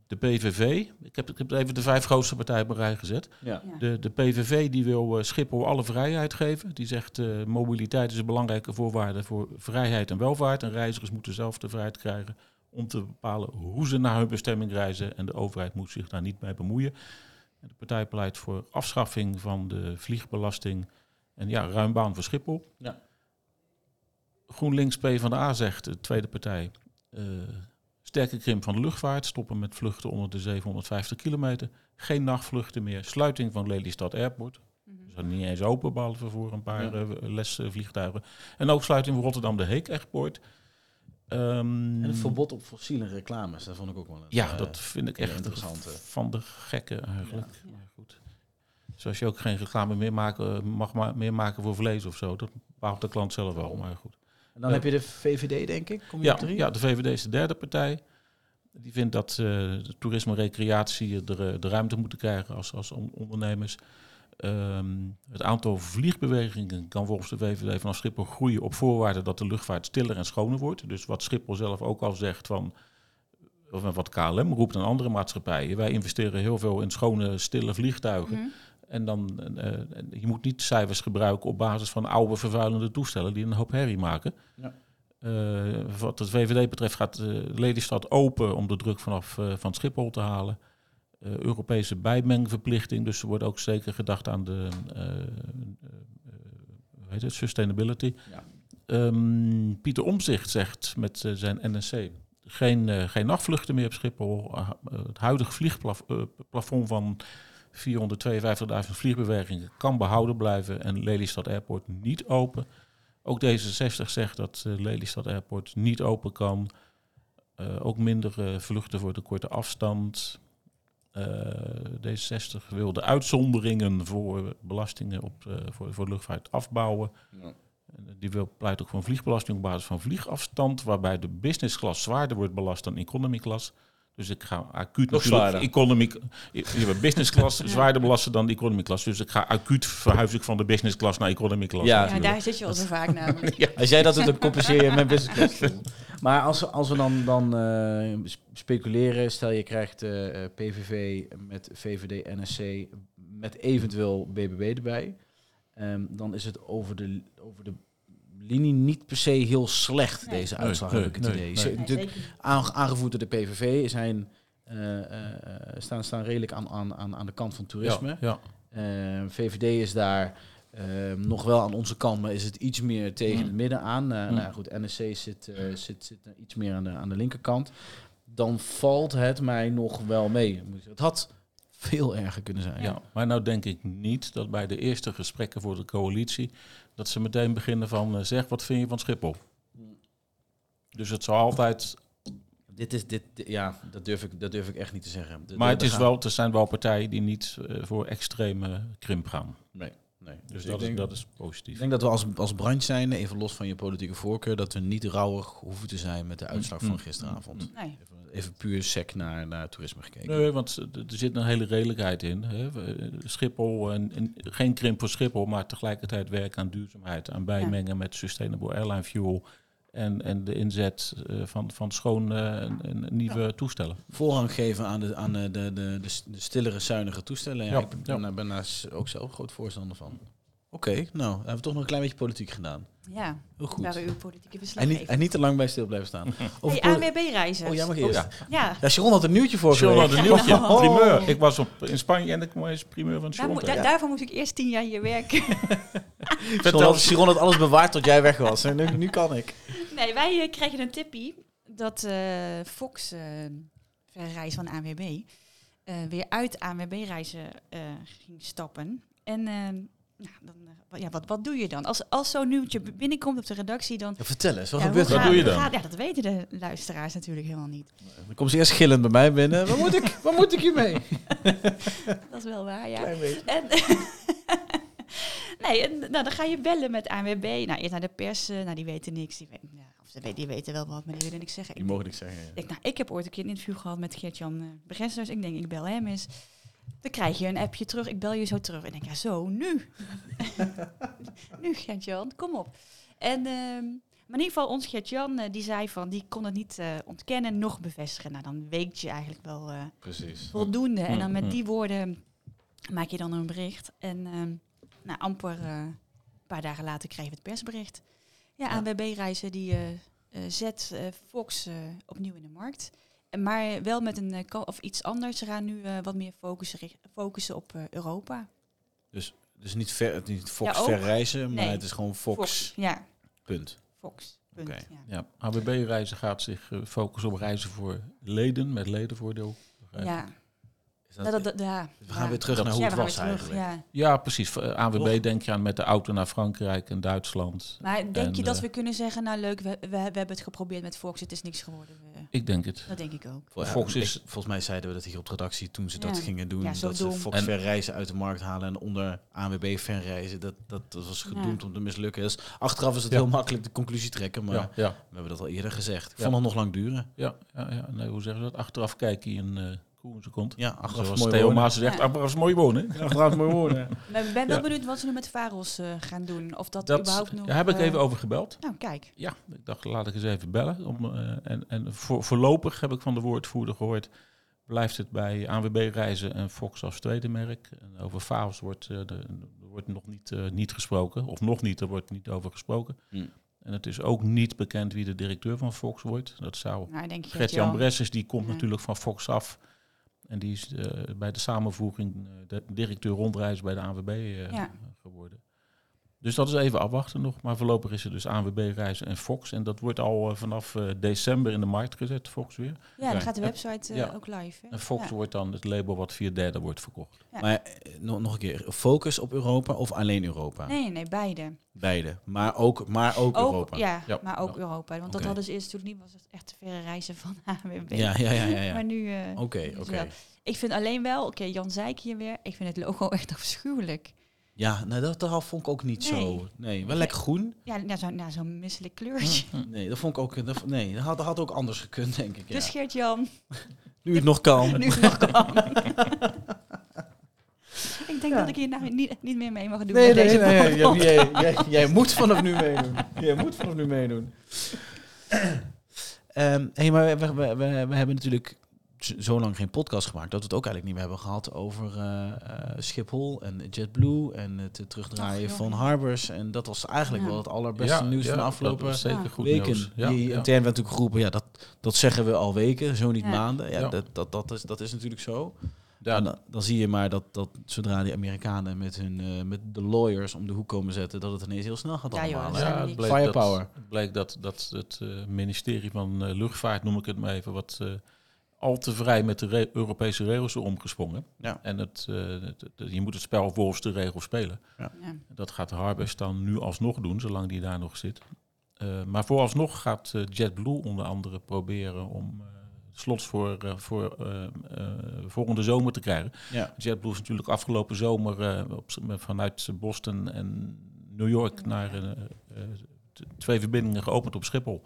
Speaker 2: de PVV, ik heb, ik heb even de vijf grootste partijen op een rij gezet.
Speaker 3: Ja.
Speaker 4: Ja.
Speaker 2: De, de PVV die wil eh, Schiphol alle vrijheid geven. Die zegt eh, mobiliteit is een belangrijke voorwaarde voor vrijheid en welvaart. En reizigers moeten zelf de vrijheid krijgen om te bepalen hoe ze naar hun bestemming reizen. En de overheid moet zich daar niet mee bemoeien. En de partij pleit voor afschaffing van de vliegbelasting en ja, ruim baan voor Schiphol.
Speaker 3: Ja.
Speaker 2: GroenLinks PvdA zegt, de tweede partij, eh, sterke krimp van de luchtvaart, stoppen met vluchten onder de 750 kilometer. Geen nachtvluchten meer. Sluiting van Lelystad Airport.
Speaker 4: Mhm.
Speaker 2: Ze zijn niet eens open, behalve voor een paar
Speaker 3: Ja.
Speaker 2: eh, lesvliegtuigen. En ook sluiting van Rotterdam de Heek Airport. Ehm,
Speaker 3: En het verbod op fossiele reclames, dat vond ik ook wel een,
Speaker 2: Ja,
Speaker 3: eh,
Speaker 2: dat vind ik
Speaker 3: heel
Speaker 2: echt
Speaker 3: interessant, hè.
Speaker 2: van de gekken eigenlijk.
Speaker 4: Ja.
Speaker 2: Maar goed. Zoals je ook geen reclame meer maken, mag ma- meer maken voor vlees of zo. Dat bepaalt de klant zelf wel, maar goed.
Speaker 3: En dan
Speaker 2: Ja.
Speaker 3: heb je de VVD, denk ik. Kom je
Speaker 2: Ja,
Speaker 3: op drie?
Speaker 2: ja, de VVD is de derde partij. Die vindt dat eh, de toerisme en recreatie de, de ruimte moeten krijgen als, als on- ondernemers. Ehm, het aantal vliegbewegingen kan volgens de VVD vanaf Schiphol groeien op voorwaarde dat de luchtvaart stiller en schoner wordt. Dus wat Schiphol zelf ook al zegt van, of wat KLM roept aan andere maatschappijen. Wij investeren heel veel in schone, stille vliegtuigen.
Speaker 4: Mhm.
Speaker 2: En dan, eh, eh, je moet niet cijfers gebruiken op basis van oude vervuilende toestellen die een hoop herrie maken.
Speaker 3: Ja.
Speaker 2: Eh, wat het VVD betreft gaat eh, Lelystad open om de druk vanaf eh, van Schiphol te halen. Eh, Europese bijmengverplichting, dus er wordt ook zeker gedacht aan de eh, eh, eh, hoe heet het, sustainability.
Speaker 3: Ja.
Speaker 2: Ehm, Pieter Omzicht zegt met eh, zijn NSC geen, eh, geen nachtvluchten meer op Schiphol. Ah, eh, het huidige vliegplafond van 452.000 vliegbewegingen kan behouden blijven en Lelystad Airport niet open. Ook D66 zegt dat eh, Lelystad Airport niet open kan. Eh, ook minder eh, vluchten voor de korte afstand. Eh, D66 wil de uitzonderingen voor belastingen op, eh, voor, voor de luchtvaart afbouwen.
Speaker 5: Ja.
Speaker 2: En Die wil, pleit ook voor een vliegbelasting op basis van vliegafstand, waarbij de business class zwaarder wordt belast dan economy class. Dus ik ga acuut
Speaker 5: Nog
Speaker 2: natuurlijk
Speaker 5: zwaarder.
Speaker 2: Economy, je hebt business class zwaarder belasten dan de economy class. Dus ik ga acuut verhuis ik van de business class naar economy class.
Speaker 5: Ja,
Speaker 4: Ja, daar zit je al zo vaak namelijk.
Speaker 3: Als jij dat doet, dan compenseer je mijn business class. voor. Maar als, we- als we dan, dan eh, sp- speculeren, stel je krijgt eh, eh, PVV met VVD, NSC, met eventueel BBB erbij, ehm, dan is het over de, over de linie niet per se heel slecht,
Speaker 4: Nee.
Speaker 3: deze
Speaker 2: Nee,
Speaker 3: uitslag,
Speaker 2: nee,
Speaker 3: heb ik het
Speaker 2: nee,
Speaker 3: idee.
Speaker 2: nee.
Speaker 3: Ze-
Speaker 2: Nee,
Speaker 3: natuurlijk aange- aangevoerd door de PVV zijn, eh, eh, staan, staan redelijk aan, aan, aan- aan de kant van toerisme.
Speaker 2: Ja, ja.
Speaker 3: Eh, VVD is daar eh, nog wel aan onze kant, maar is het iets meer tegen
Speaker 2: Mm.
Speaker 3: het midden aan. Eh,
Speaker 2: Mm.
Speaker 3: Nou goed, NSC zit, eh, zit, zit eh, iets meer aan de, aan de linkerkant. Dan valt het mij nog wel mee. moet ik zeggen. Het had veel erger kunnen zijn.
Speaker 2: Ja, maar nou denk ik niet dat bij de eerste gesprekken voor de coalitie dat ze meteen beginnen van eh, zeg wat vind je van Schiphol. Dus het zal altijd,
Speaker 3: Dit is, dit, dit- ja dat, durf ik, dat durf ik echt niet te zeggen. De-
Speaker 2: maar
Speaker 3: de-
Speaker 2: het
Speaker 3: daar
Speaker 2: is
Speaker 3: gaan-
Speaker 2: wel, er zijn wel partijen die niet eh, voor extreme krimp gaan.
Speaker 3: Nee, nee.
Speaker 2: Dus
Speaker 3: Ik
Speaker 2: dat is,
Speaker 3: denk-
Speaker 2: dat is positief.
Speaker 3: Ik denk dat we als, als brand zijn, even los van je politieke voorkeur, dat we niet rauwig hoeven te zijn met de uitslag
Speaker 2: Mm.
Speaker 3: van gisteravond.
Speaker 4: Nee.
Speaker 3: Even, even puur sec naar, naar toerisme gekeken.
Speaker 2: Nee, want eh, d- er zit een hele redelijkheid in. Hè. We- eh, Schiphol, en, en geen krimp voor Schiphol, maar tegelijkertijd werken aan duurzaamheid, aan bijmengen met sustainable airline fuel en, en de inzet eh, van, van schoon eh, en, en nieuwe toestellen.
Speaker 3: voorrang geven aan de, aan de, de, de, de s- de stillere, zuinige toestellen. Ja,
Speaker 2: Ja,
Speaker 3: ik ben,
Speaker 2: ja.
Speaker 3: daar- ben daar s- ook zelf groot voorstander van. Oké, nou, hebben we toch nog een klein beetje politiek gedaan.
Speaker 4: Ja,
Speaker 3: Heel goed.
Speaker 4: waren uw politieke
Speaker 3: En niet,
Speaker 4: beslaggever.
Speaker 3: en niet te lang bij stil blijven staan. Over
Speaker 4: Hey,
Speaker 3: poli-
Speaker 4: ANWB-reizen.
Speaker 3: oh, jij mag eerst.
Speaker 2: Oh,
Speaker 3: ja.
Speaker 4: Ja,
Speaker 3: Sharon had een nieuwtje voor
Speaker 2: John had
Speaker 3: geweest.
Speaker 2: een nieuwtje,
Speaker 4: Oh.
Speaker 2: primeur. Ik was op, in Spanje en ik was primeur van
Speaker 4: daar
Speaker 2: John.
Speaker 4: moet- da- daarvoor moet ik eerst tien jaar hier werken.
Speaker 3: Sharon had, Sharon had alles bewaard tot jij weg was. En nu, nu kan ik.
Speaker 4: Nee, wij eh, kregen een tippie dat eh, Fox eh verreis van ANWB eh, weer uit ANWB reizen eh, ging stappen. En eh, nou, dan, eh, wa- ja, wat, wat doe je dan? Als, als zo'n nieuwtje b- binnenkomt op de redactie, dan...
Speaker 3: Ja, vertel eens, wat
Speaker 4: ja, hoe
Speaker 3: gebeurt er?
Speaker 2: Wat doe je
Speaker 4: hoe
Speaker 2: dan?
Speaker 4: ja, dat weten de luisteraars natuurlijk helemaal niet.
Speaker 3: Dan komt ze eerst gillend bij mij binnen. Waar moet ik, waar moet ik hiermee?
Speaker 4: Dat is wel waar, ja.
Speaker 3: Klein beetje.
Speaker 4: En, nee, en, nou, dan ga je bellen met ANWB. Nou, eerst naar de pers. eh, Nou, die weten niks. Die, weten, ja, of ze weten, die weten wel wat, maar die willen niks zeggen.
Speaker 3: Die
Speaker 4: Ik
Speaker 3: mogen ik zeggen. ja.
Speaker 4: Ik, nou, ik heb ooit een keer een interview gehad met Geert-Jan eh, Bressers. Ik denk, ik bel hem eens. Dan krijg je een appje terug. Ik bel je zo terug. En ik denk, ja, zo, nu. nu, Geert-Jan, kom op. En, ehm, maar in ieder geval, ons Geert-Jan, eh, die zei van... die kon het niet eh, ontkennen, nog bevestigen. Nou, dan weet je eigenlijk wel eh,
Speaker 3: Precies.
Speaker 4: voldoende. En dan
Speaker 2: Mm,
Speaker 4: met
Speaker 3: Mm-hmm.
Speaker 2: mm.
Speaker 4: die woorden maak je dan een bericht. En ehm nou, amper eh, een paar dagen later kregen we het persbericht. Ja, ANWB-reizen die eh, eh, zet eh, Fox eh, opnieuw in de markt. En Maar wel met een eh, ko- of iets anders. Ze gaan nu eh, wat meer focussen, richt- focussen op eh, Europa.
Speaker 3: Dus niet, ver, het is niet Fox
Speaker 4: Ja, ook.
Speaker 3: verreizen, maar
Speaker 4: Nee.
Speaker 3: het is gewoon Fox,
Speaker 4: Ja,
Speaker 3: punt.
Speaker 4: Fox. Punt,
Speaker 3: Oké.
Speaker 4: ja.
Speaker 2: Ja, ABB-reizen gaat zich eh, focussen op reizen voor leden, met ledenvoordeel.
Speaker 4: Ja. Nou,
Speaker 2: Begrijp ik.
Speaker 3: Is
Speaker 4: Dat, dat, dat- ja.
Speaker 3: we gaan
Speaker 4: Ja.
Speaker 3: weer terug naar
Speaker 4: Ja,
Speaker 3: hoe
Speaker 4: we
Speaker 3: het
Speaker 4: gaan
Speaker 3: was
Speaker 4: weer terug,
Speaker 3: eigenlijk.
Speaker 4: ja.
Speaker 2: Ja, precies. Eh,
Speaker 3: Toch?
Speaker 2: AWB denk je aan met de auto naar Frankrijk en Duitsland.
Speaker 4: Maar denk je
Speaker 2: En,
Speaker 4: dat
Speaker 2: eh,
Speaker 4: we kunnen zeggen, nou leuk, we, we, we hebben het geprobeerd met Fox, het is niks geworden. We-
Speaker 2: Ik denk het.
Speaker 4: dat denk ik ook.
Speaker 3: Vol- ja,
Speaker 2: Fox
Speaker 3: ik-
Speaker 2: is-
Speaker 3: volgens mij zeiden we dat hier op de redactie toen ze
Speaker 4: Ja.
Speaker 3: dat gingen doen.
Speaker 4: Ja, zo
Speaker 3: dat ze
Speaker 4: dom.
Speaker 3: Fox
Speaker 2: En-
Speaker 3: verreizen uit de markt halen en onder ANWB verreizen. Dat, dat, dat was gedoemd om te mislukken. Dus achteraf is het
Speaker 2: Ja.
Speaker 3: heel makkelijk de conclusie trekken, maar
Speaker 2: Ja, ja,
Speaker 3: we hebben dat al eerder gezegd. Ik
Speaker 2: Ja.
Speaker 3: vond het nog lang duren.
Speaker 2: ja, ja, ja. Nee, hoe zeggen ze dat? Achteraf kijken je een eh koe in zijn kont.
Speaker 3: Ja, achteraf
Speaker 2: Zoals
Speaker 3: mooi
Speaker 2: Theo
Speaker 3: wonen.
Speaker 2: Maas zegt,
Speaker 4: Ja.
Speaker 2: achteraf is mooi wonen. hè?
Speaker 3: Achteraf mooi woorden.
Speaker 4: Maar ik ben wel
Speaker 2: Ja.
Speaker 4: benieuwd wat ze nu met Faros eh, gaan doen. Of dat,
Speaker 2: Dat,
Speaker 4: überhaupt nog...
Speaker 2: daar heb ik
Speaker 4: eh,
Speaker 2: even over gebeld.
Speaker 4: Nou, kijk.
Speaker 2: Ja, ik dacht, laat ik eens even bellen. Om, eh, en en voor, voorlopig heb ik van de woordvoerder gehoord, blijft het bij ANWB Reizen en Fox als tweede merk. En over Faos wordt, eh, de- er wordt nog niet, eh, niet gesproken, of nog niet, er wordt niet over gesproken.
Speaker 3: Hmm.
Speaker 2: En het is ook niet bekend wie de directeur van Fox wordt. Dat zou
Speaker 4: Nou, ik denk je
Speaker 2: Oh, Gert-Jan Bressers, die komt
Speaker 4: Ja.
Speaker 2: natuurlijk van Fox af. En die is eh, bij de samenvoeging eh, de directeur rondreis bij de ANWB eh,
Speaker 4: Ja.
Speaker 2: geworden. Dus dat is even afwachten nog. Maar voorlopig is er dus ANWB Reizen en Fox. En dat wordt al eh, vanaf eh, december in de markt gezet, Fox weer.
Speaker 4: Ja, dan
Speaker 3: Oké.
Speaker 4: gaat de
Speaker 2: En-
Speaker 4: website eh,
Speaker 2: ja.
Speaker 4: ook live. Hè?
Speaker 2: En Fox
Speaker 4: Ja.
Speaker 2: wordt dan het label wat via derde wordt verkocht.
Speaker 4: Ja.
Speaker 3: Maar eh, nog, nog een keer, focus op Europa of alleen Europa?
Speaker 4: Nee, nee, beide.
Speaker 3: Beide. Maar ook, maar ook,
Speaker 4: Ook,
Speaker 3: Europa.
Speaker 4: Ja,
Speaker 2: Ja.
Speaker 4: maar ook
Speaker 2: Ja.
Speaker 4: Europa. Want dat
Speaker 3: Oké.
Speaker 4: hadden ze eerst toen niet, was het echt te verre reizen van AWB.
Speaker 3: ja, ja, ja. ja, ja.
Speaker 4: Maar nu... eh,
Speaker 3: Oké,
Speaker 4: dus
Speaker 3: oké.
Speaker 4: wel. Ik vind alleen wel, oké, Jan zei ik hier weer, ik vind het logo echt afschuwelijk.
Speaker 3: Ja, nou dat, dat vond ik ook niet zo.
Speaker 4: Nee.
Speaker 3: Nee, wel lekker groen.
Speaker 4: Ja, nou, zo'n nou, zo'n misselijk kleurtje.
Speaker 3: Nee, dat vond ik ook. eh, Dat, nee, dat had, dat had ook anders gekund, denk ik. Ja.
Speaker 4: Dus Geert-Jan,
Speaker 3: nu het nog kan.
Speaker 4: nu nog kan. ik denk dat ik hier nou niet, niet meer mee mag doen
Speaker 3: Nee,
Speaker 4: met
Speaker 3: nee,
Speaker 4: deze
Speaker 3: nee.
Speaker 4: borrel.
Speaker 3: Jij, jij, jij- jij moet vanaf nu meedoen. Jij moet vanaf nu meedoen. Ehm, hey, maar we, we, we, we hebben natuurlijk z- zo lang geen podcast gemaakt dat we het ook eigenlijk niet meer hebben gehad over eh, eh, Schiphol en JetBlue en het terugdraaien
Speaker 4: Ach, joh.
Speaker 3: van harbors. En dat was eigenlijk
Speaker 4: Ja.
Speaker 3: wel het allerbeste nieuws van de afgelopen
Speaker 2: Dat was zeker
Speaker 4: Ja.
Speaker 2: goed
Speaker 3: weken.
Speaker 2: nieuws. Ja,
Speaker 3: die
Speaker 2: ja.
Speaker 3: intern werd natuurlijk geroepen, ja, dat, dat zeggen we al weken, zo niet
Speaker 4: Ja.
Speaker 3: maanden. Ja,
Speaker 2: Ja.
Speaker 3: Dat, dat, dat, is, dat is natuurlijk zo.
Speaker 2: Ja, nou,
Speaker 3: En dan, dan zie je maar dat, dat zodra die Amerikanen met, hun, eh, met de lawyers om de hoek komen zetten, dat het ineens heel snel gaat
Speaker 4: Ja, joh,
Speaker 3: allemaal.
Speaker 4: dat
Speaker 3: hè?
Speaker 4: zijn
Speaker 2: Ja,
Speaker 4: we
Speaker 2: het
Speaker 4: niet.
Speaker 2: bleek
Speaker 3: Firepower.
Speaker 2: Dat, het bleek dat, dat het eh, ministerie van eh, Luchtvaart, noem ik het maar even, wat eh, al te vrij met de re- Europese regels is omgesprongen.
Speaker 3: Ja.
Speaker 2: En het, eh, het- het- je moet het spel volgens de regels spelen.
Speaker 4: Ja.
Speaker 2: Dat gaat Harbers dan nu alsnog doen, zolang die daar nog zit. Eh, maar vooralsnog gaat eh, JetBlue onder andere proberen om eh, slots voor, eh, voor eh, eh, volgende zomer te krijgen.
Speaker 3: Ja.
Speaker 2: JetBlue is natuurlijk afgelopen zomer eh, op, z- met- vanuit Boston en New York naar eh, eh, t- twee verbindingen geopend op Schiphol.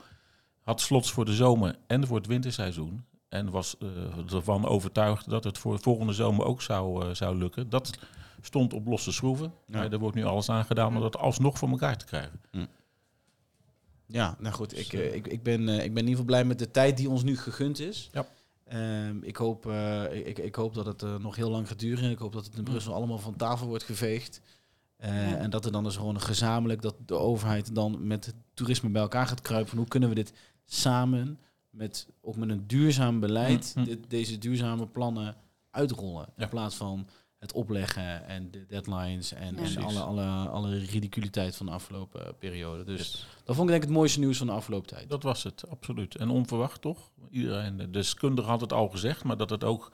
Speaker 2: Had slots voor de zomer en voor het winterseizoen. En was eh, ervan overtuigd dat het voor volgende zomer ook zou, eh, zou lukken. Dat stond op losse schroeven.
Speaker 3: Ja.
Speaker 2: Maar er wordt nu alles aan gedaan om dat alsnog voor elkaar te krijgen.
Speaker 3: Ja, nou goed,
Speaker 2: Dus,
Speaker 3: ik, eh, ik, ik, ben, eh, ik ben in ieder geval blij met de tijd die ons nu gegund is.
Speaker 2: Ja.
Speaker 3: Ehm, ik, hoop, eh, ik, ik hoop dat het eh, nog heel lang gaat duren en ik hoop dat het in
Speaker 2: Mm.
Speaker 3: Brussel allemaal van tafel wordt geveegd. Eh,
Speaker 4: Ja.
Speaker 3: En dat er dan dus gewoon gezamenlijk, dat de overheid dan met het toerisme bij elkaar gaat kruipen. Van hoe kunnen we dit samen, met, ook met een duurzaam beleid,
Speaker 2: Mhm.
Speaker 3: dit, deze duurzame plannen uitrollen.
Speaker 2: Ja.
Speaker 3: In plaats van het opleggen en de deadlines en,
Speaker 4: Ja.
Speaker 3: en
Speaker 2: Precies.
Speaker 3: alle, alle, alle ridiculiteit van de afgelopen eh, periode. Dus
Speaker 2: Dus
Speaker 3: dat vond ik denk ik het mooiste nieuws van de afgelopen tijd.
Speaker 2: dat was het, absoluut. En onverwacht toch? Iedereen, de deskundige had het al gezegd, maar dat het ook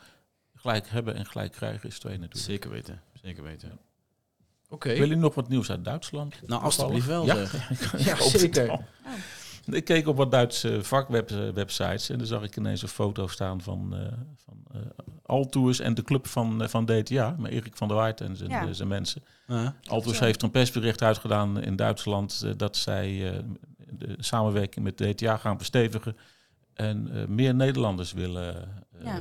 Speaker 2: gelijk hebben en gelijk krijgen is twee natuurlijk.
Speaker 3: Zeker weten, zeker weten.
Speaker 2: Ja.
Speaker 3: Oké.
Speaker 2: Wil je nog wat nieuws uit Duitsland?
Speaker 3: Nou, alstublieft wel.
Speaker 2: Ja,
Speaker 3: zeg.
Speaker 2: Ik hoop het
Speaker 3: zeker.
Speaker 2: wel.
Speaker 4: Oh,
Speaker 2: Ik keek op wat Duitse vakwebsites en daar zag ik ineens een foto staan van, eh van eh Altours en de club van, eh, van DTA, maar Erik van der Waard en zijn,
Speaker 4: Ja.
Speaker 2: eh, zijn mensen.
Speaker 3: Ja.
Speaker 2: Altus
Speaker 4: Ja.
Speaker 2: heeft een persbericht uitgedaan in Duitsland eh, dat zij eh, de samenwerking met DTA gaan verstevigen en eh, meer Nederlanders willen eh,
Speaker 4: Ja.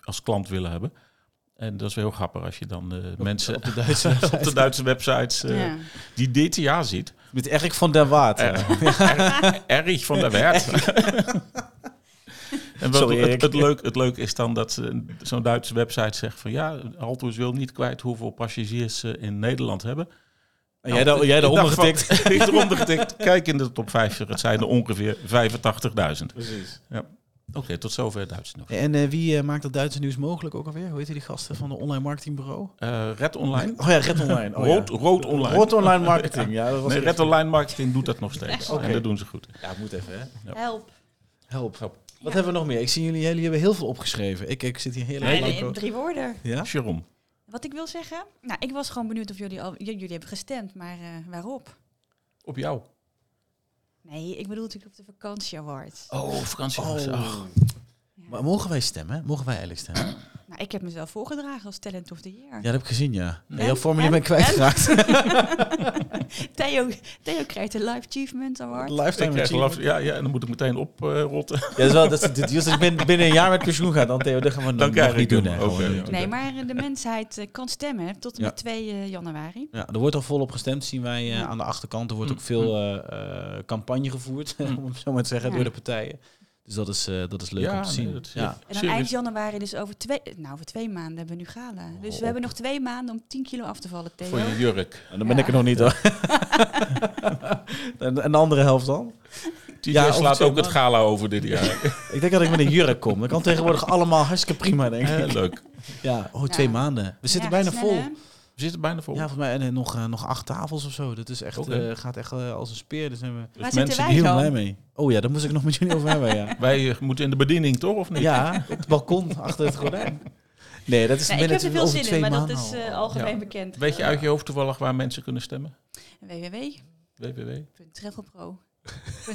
Speaker 2: als klant willen hebben. En dat is wel heel grappig als je dan eh, mensen
Speaker 3: Op de Duitse
Speaker 2: op de
Speaker 3: website.
Speaker 2: Duitse websites eh,
Speaker 4: Ja.
Speaker 2: die DTA ziet.
Speaker 3: Met Erik van der Waard.
Speaker 2: Eh, er- Erg van der Werd. En wat
Speaker 3: Sorry, Erik.
Speaker 2: het, het, leuk, het leuk is dan dat ze- zo'n Duitse website zegt van ja, Altus wil niet kwijt hoeveel passagiers ze in Nederland hebben. Nou,
Speaker 3: En jij daar- jij
Speaker 2: ik
Speaker 3: daaronder
Speaker 2: dacht van- Ik eronder getikt. Kijk in de top 50, het zijn er ongeveer 85.000.
Speaker 3: Precies.
Speaker 2: Oké, tot zover Duits nog.
Speaker 3: En eh, wie eh, maakt dat Duitse nieuws mogelijk ook alweer? Hoe heet die gasten van de online marketingbureau?
Speaker 2: Eh, Red Online.
Speaker 3: Oh ja, Red Online. Oh, ja.
Speaker 2: Rood, rood Online.
Speaker 3: Rood Online Marketing. Ja, dat was
Speaker 2: Nee,
Speaker 3: ik
Speaker 2: Red
Speaker 3: even-
Speaker 2: Online Marketing doet dat nog steeds.
Speaker 3: Oké.
Speaker 2: En dat doen ze goed.
Speaker 3: Ja, moet even, hè.
Speaker 2: Ja.
Speaker 4: Help.
Speaker 3: Help.
Speaker 2: Help.
Speaker 3: Wat hebben we nog meer? Ik zie jullie, jullie hebben heel veel opgeschreven. Ik, ik zit hier heel
Speaker 4: Nee,
Speaker 3: erg lang
Speaker 4: in drie woorden.
Speaker 3: Ja?
Speaker 2: Jerome.
Speaker 4: Wat ik wil zeggen, nou, ik was gewoon benieuwd of jullie al, j- jullie hebben gestemd, maar eh, waarop?
Speaker 2: Op jou.
Speaker 4: Nee, ik bedoel natuurlijk op de vakantieawards.
Speaker 2: Oh, vakantie.
Speaker 3: Oh.
Speaker 4: Ja.
Speaker 3: Maar mogen wij stemmen? Mogen wij eigenlijk stemmen?
Speaker 4: Nou, ik heb mezelf voorgedragen als talent of the year.
Speaker 3: Ja, dat heb ik gezien, ja.
Speaker 4: En?
Speaker 3: En jouw formulier ben ik
Speaker 4: En?
Speaker 3: kwijtgeraakt.
Speaker 4: Theo, Theo krijgt de Live Achievement Award.
Speaker 3: Oh,
Speaker 2: Ik
Speaker 3: Lifetime
Speaker 2: krijg
Speaker 3: achievement.
Speaker 2: geloof- ja, ja, en dan moet ik meteen oprotten.
Speaker 3: Ja, dat is wel, dat is, dit, als ik binnen, binnen een jaar met pensioen ga, dan, Theo, dat gaan we
Speaker 2: Dan krijg
Speaker 3: nog
Speaker 2: ik
Speaker 3: niet doen.
Speaker 2: hem.
Speaker 3: hè.
Speaker 2: Oké,
Speaker 3: Gewoon niet
Speaker 2: ja.
Speaker 3: doen.
Speaker 4: Nee, maar eh, de mensheid eh, kan stemmen hè, tot en met 2 eh, januari.
Speaker 3: Ja, er wordt al volop gestemd, zien wij eh, aan de achterkant. Er wordt
Speaker 2: Hm.
Speaker 3: ook veel eh, eh, campagne gevoerd, om het zo maar te zeggen,
Speaker 4: Ja.
Speaker 3: door de partijen. Dus dat is, eh, dat is leuk om te zien. ja.
Speaker 4: En dan eind januari, dus over twee, nou, over twee maanden hebben we nu gala. Dus
Speaker 3: Hop.
Speaker 4: we hebben nog twee maanden om 10 kilo af te vallen, Theo.
Speaker 2: Voor je jurk.
Speaker 3: En dan ben ik er nog niet hoor. en, en de andere helft dan?
Speaker 2: Die
Speaker 3: Ja, over
Speaker 2: slaat
Speaker 3: twee
Speaker 2: ook het
Speaker 3: maanden.
Speaker 2: gala over dit jaar.
Speaker 3: Ik denk dat ik met een jurk kom. Dat kan tegenwoordig allemaal hartstikke prima, denk ik.
Speaker 2: Eh, leuk.
Speaker 3: Ja, oh, twee
Speaker 4: Ja.
Speaker 3: maanden. We zitten
Speaker 4: Ja,
Speaker 3: bijna
Speaker 4: snel,
Speaker 3: vol.
Speaker 4: hè?
Speaker 2: We zitten bijna vol.
Speaker 3: Ja, volgens mij en, eh, nog, eh, nog acht tafels of zo. Dat is echt,
Speaker 2: Oké.
Speaker 3: eh, gaat echt eh, als een speer. Daar zijn we
Speaker 2: Dus
Speaker 4: Waar
Speaker 2: mensen
Speaker 4: zitten wij
Speaker 3: heel
Speaker 4: dan?
Speaker 3: blij mee. Oh ja, daar moest ik nog met jullie over hebben, ja.
Speaker 2: Wij eh, moeten in de bediening, toch? Of niet?
Speaker 3: Ja, het balkon achter het gordijn. Nee, dat is
Speaker 4: Nou, ik
Speaker 3: binnen
Speaker 4: heb er
Speaker 3: twee-
Speaker 4: veel
Speaker 3: over
Speaker 4: zin in,
Speaker 3: twee
Speaker 4: maar dat
Speaker 3: maanden
Speaker 4: is
Speaker 3: al.
Speaker 4: eh, algemeen
Speaker 2: Ja.
Speaker 4: bekend.
Speaker 2: Weet je uit je hoofd toevallig waar mensen kunnen stemmen?
Speaker 4: www.travelpro.nl
Speaker 2: www. Of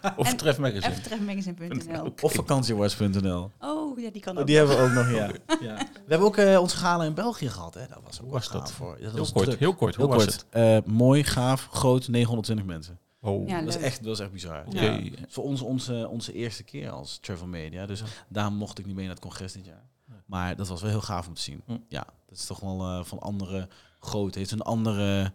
Speaker 4: Ah, En-
Speaker 2: Tref Magazine.
Speaker 4: ftrefmagazine.nl
Speaker 3: Of vakantiewords.nl.
Speaker 4: Oh, ja, die kan
Speaker 3: Oh,
Speaker 4: ook.
Speaker 3: die hebben we ook nog, ja. ja. We hebben ook eh ons gala in België gehad, hè? Dat was ook
Speaker 2: Hoe was
Speaker 3: gaaf
Speaker 2: dat?
Speaker 3: Voor. Ja, dat
Speaker 2: Heel
Speaker 3: was
Speaker 2: kort,
Speaker 3: druk.
Speaker 2: heel kort. Hoe
Speaker 3: Heel
Speaker 2: was
Speaker 3: kort.
Speaker 2: het?
Speaker 3: Eh, mooi, gaaf, groot, 920 mensen.
Speaker 2: Oh,
Speaker 4: Ja,
Speaker 3: Dat is
Speaker 4: leuk.
Speaker 3: echt, dat is echt bizar.
Speaker 2: oké.
Speaker 3: Ja. Voor ons onze, onze eerste keer als travel media. Dus daarom mocht ik niet mee naar het congres dit jaar. Maar dat was wel heel gaaf om te zien.
Speaker 2: Hm.
Speaker 3: Ja, dat is toch wel eh, van andere groot. Heeft een andere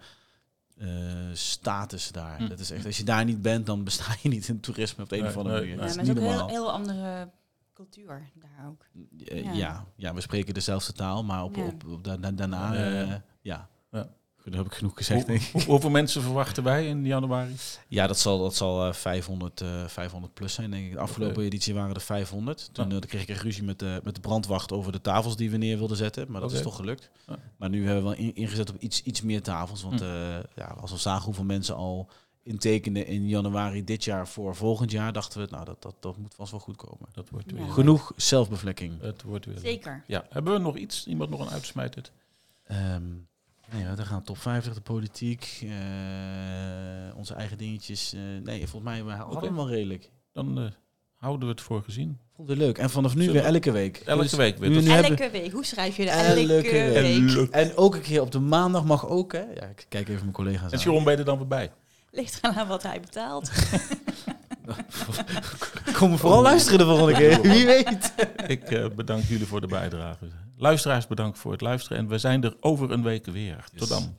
Speaker 3: eh, status daar.
Speaker 2: Hm.
Speaker 3: Dat is echt, als je daar niet bent, dan besta je niet in toerisme op de een
Speaker 2: Nee,
Speaker 3: of andere
Speaker 2: nee,
Speaker 3: manier.
Speaker 2: nee.
Speaker 4: Ja,
Speaker 3: Dat
Speaker 4: maar
Speaker 3: is
Speaker 4: het is
Speaker 3: niet
Speaker 4: ook een heel,
Speaker 3: normaal.
Speaker 4: heel andere cultuur daar ook.
Speaker 3: Eh,
Speaker 4: ja.
Speaker 3: ja. ja, we spreken dezelfde taal, maar op,
Speaker 4: Ja.
Speaker 3: op, op da- da- daarna,
Speaker 2: Ja, ja, ja.
Speaker 3: eh, ja.
Speaker 2: Ja.
Speaker 3: Goed, Dat heb ik genoeg gezegd,
Speaker 2: Hoe-
Speaker 3: denk ik.
Speaker 2: hoe- hoeveel mensen verwachten wij in januari?
Speaker 3: Ja, dat zal, dat zal eh, 500, eh, 500 plus zijn, denk ik. De afgelopen
Speaker 2: Oké.
Speaker 3: editie waren er 500. Toen
Speaker 2: Ja.
Speaker 3: eh, kreeg ik echt ruzie met de, met de brandwacht over de tafels die we neer wilden zetten. Maar dat is
Speaker 2: Oké.
Speaker 3: toch gelukt.
Speaker 2: Ja.
Speaker 3: Maar nu hebben we wel in- ingezet op iets, iets meer tafels. Want
Speaker 2: Hm.
Speaker 3: eh, ja, als we zagen hoeveel mensen al intekenden in januari dit jaar voor volgend jaar, dachten we, nou, dat, dat, dat moet vast wel goed komen.
Speaker 2: Dat wordt weer.
Speaker 4: Ja.
Speaker 3: Genoeg zelfbevlekking.
Speaker 2: Het wordt weer.
Speaker 4: Zeker.
Speaker 2: Ja, hebben we nog iets? Iemand nog een uitsmijter?
Speaker 3: Ehm nee, ja, dan gaan top 50, de politiek, eh, onze eigen dingetjes. eh, nee, volgens mij we hadden
Speaker 2: Oké.
Speaker 3: hem wel redelijk.
Speaker 2: Dan eh, houden we het voor gezien.
Speaker 3: Vond het leuk. En vanaf nu
Speaker 2: Zullen
Speaker 3: weer
Speaker 2: we-
Speaker 3: elke week.
Speaker 2: Elke
Speaker 3: Dus
Speaker 2: week weer.
Speaker 3: nu
Speaker 2: Tot-
Speaker 3: hebben-
Speaker 4: Elke week. Hoe schrijf je de elke,
Speaker 3: Elke week.
Speaker 4: week?
Speaker 3: En ook een keer op de maandag mag ook, hè? Ja, ik kijk even mijn collega's
Speaker 2: En
Speaker 3: aan.
Speaker 2: Sharon ben je er dan weer bij.
Speaker 4: Ligt eraan aan wat hij betaalt.
Speaker 3: Kom vooral luisteren de volgende keer. Wie weet.
Speaker 2: Ik eh, bedank jullie voor de bijdrage. Luisteraars, bedankt voor het luisteren. En we zijn er over een week weer. Tot dan.